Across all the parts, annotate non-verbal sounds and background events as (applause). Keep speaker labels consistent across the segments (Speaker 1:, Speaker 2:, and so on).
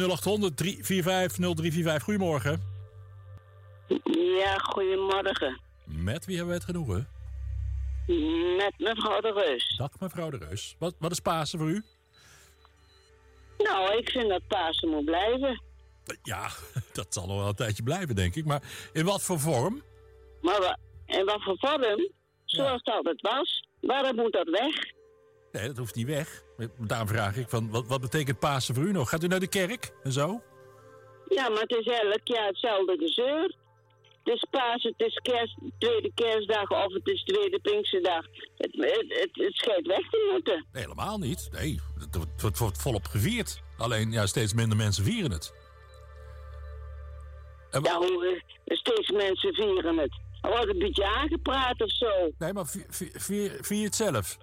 Speaker 1: 0800 345 0345. Eh, Goedemorgen.
Speaker 2: Ja, goedemorgen.
Speaker 1: Met wie hebben wij het genoegen?
Speaker 2: Met mevrouw de Reus.
Speaker 1: Dag mevrouw de Reus. Wat, wat is Pasen voor u?
Speaker 2: Nou, ik vind dat Pasen moet blijven.
Speaker 1: Ja, (laughs) dat zal nog wel een tijdje blijven, denk ik. Maar in wat voor vorm?
Speaker 2: Maar wa- in wat voor vorm? Zoals dat het was. Waarom moet dat weg?
Speaker 1: Nee, dat hoeft niet weg. Daarom vraag ik, van, wat, wat betekent Pasen voor u nog? Gaat u naar de kerk en zo?
Speaker 2: Ja, maar het is elk jaar hetzelfde gezeur. Het is paas, het is kerst, tweede kerstdag of het is tweede Pinksterdag. Het, het, het, het schijnt weg te moeten.
Speaker 1: Nee, helemaal niet. Nee, het wordt- het wordt volop gevierd. Alleen, ja, steeds minder mensen vieren het. En wa-
Speaker 2: Ja, hoe, eh, steeds mensen vieren het. Er wordt een beetje aangepraat of zo.
Speaker 1: Nee, maar vi- vi- vier, vier het zelf.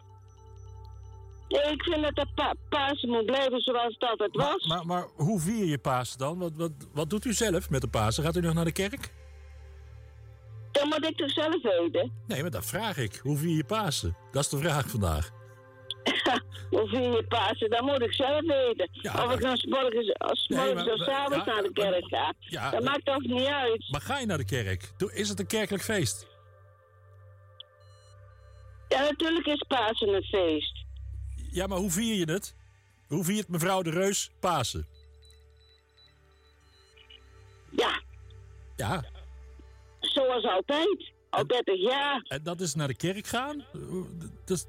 Speaker 2: Nee, ik vind dat de pa paas moet blijven zoals dat het
Speaker 1: Maar,
Speaker 2: was.
Speaker 1: maar, maar hoe vier je Pasen dan? Wat, wat, wat doet u zelf met de Pasen? Gaat u nog naar de kerk?
Speaker 2: Dan moet ik toch zelf weten. (laughs)
Speaker 1: Nee, maar dat vraag ik. Hoe vier je Pasen? Dat is de vraag vandaag.
Speaker 2: Hoe vier je Pasen? Dat moet ik zelf weten.
Speaker 1: Ja,
Speaker 2: of ik
Speaker 1: maar-
Speaker 2: nou 's morgens, als 's
Speaker 1: Nee,
Speaker 2: morgens
Speaker 1: maar-
Speaker 2: of 's avonds
Speaker 1: ja,
Speaker 2: naar de
Speaker 1: maar-
Speaker 2: kerk ga.
Speaker 1: ja,
Speaker 2: dat
Speaker 1: maar-
Speaker 2: maakt toch niet uit.
Speaker 1: Maar ga je naar de kerk? Doe- Is het een kerkelijk feest?
Speaker 2: Ja, natuurlijk is Pasen een feest.
Speaker 1: Ja, maar hoe vier je het? Hoe viert mevrouw de Reus Pasen?
Speaker 2: Ja,
Speaker 1: Ja,
Speaker 2: zoals altijd. Al 30 jaar.
Speaker 1: en dat is naar de kerk gaan? Hoe- Dat is,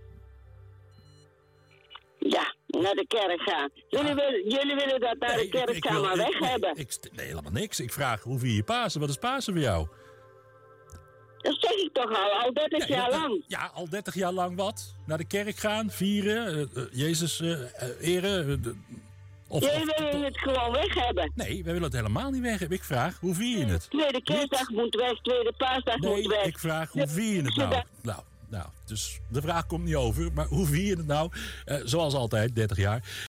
Speaker 2: Ja, naar de kerk gaan. Jullie, willen, jullie willen dat naar
Speaker 1: Nee,
Speaker 2: de kerk gaan,
Speaker 1: wil-
Speaker 2: maar weg
Speaker 1: nee,
Speaker 2: hebben.
Speaker 1: ik st- nee, helemaal niks. Ik vraag hoe vier je Pasen? Wat is Pasen voor jou?
Speaker 2: dat zeg ik toch al, al 30 jaar
Speaker 1: ja,
Speaker 2: lang.
Speaker 1: Ja, al 30 jaar lang wat? Naar de kerk gaan, vieren, eh, eh, Jezus eh, eh, eren. eh, de- of,
Speaker 2: Jullie
Speaker 1: of-
Speaker 2: willen het gewoon weg hebben.
Speaker 1: nee, wij willen het helemaal niet weg. Ik vraag, hoe vier je het?
Speaker 2: Tweede kerstdag moet weg, tweede paasdag moet
Speaker 1: Nee,
Speaker 2: weg.
Speaker 1: ik vraag, hoe vier je het nou?
Speaker 2: Zodat-
Speaker 1: Nou, nou, dus de vraag komt niet over, maar hoe vier je het nou? Eh, zoals altijd, 30 jaar.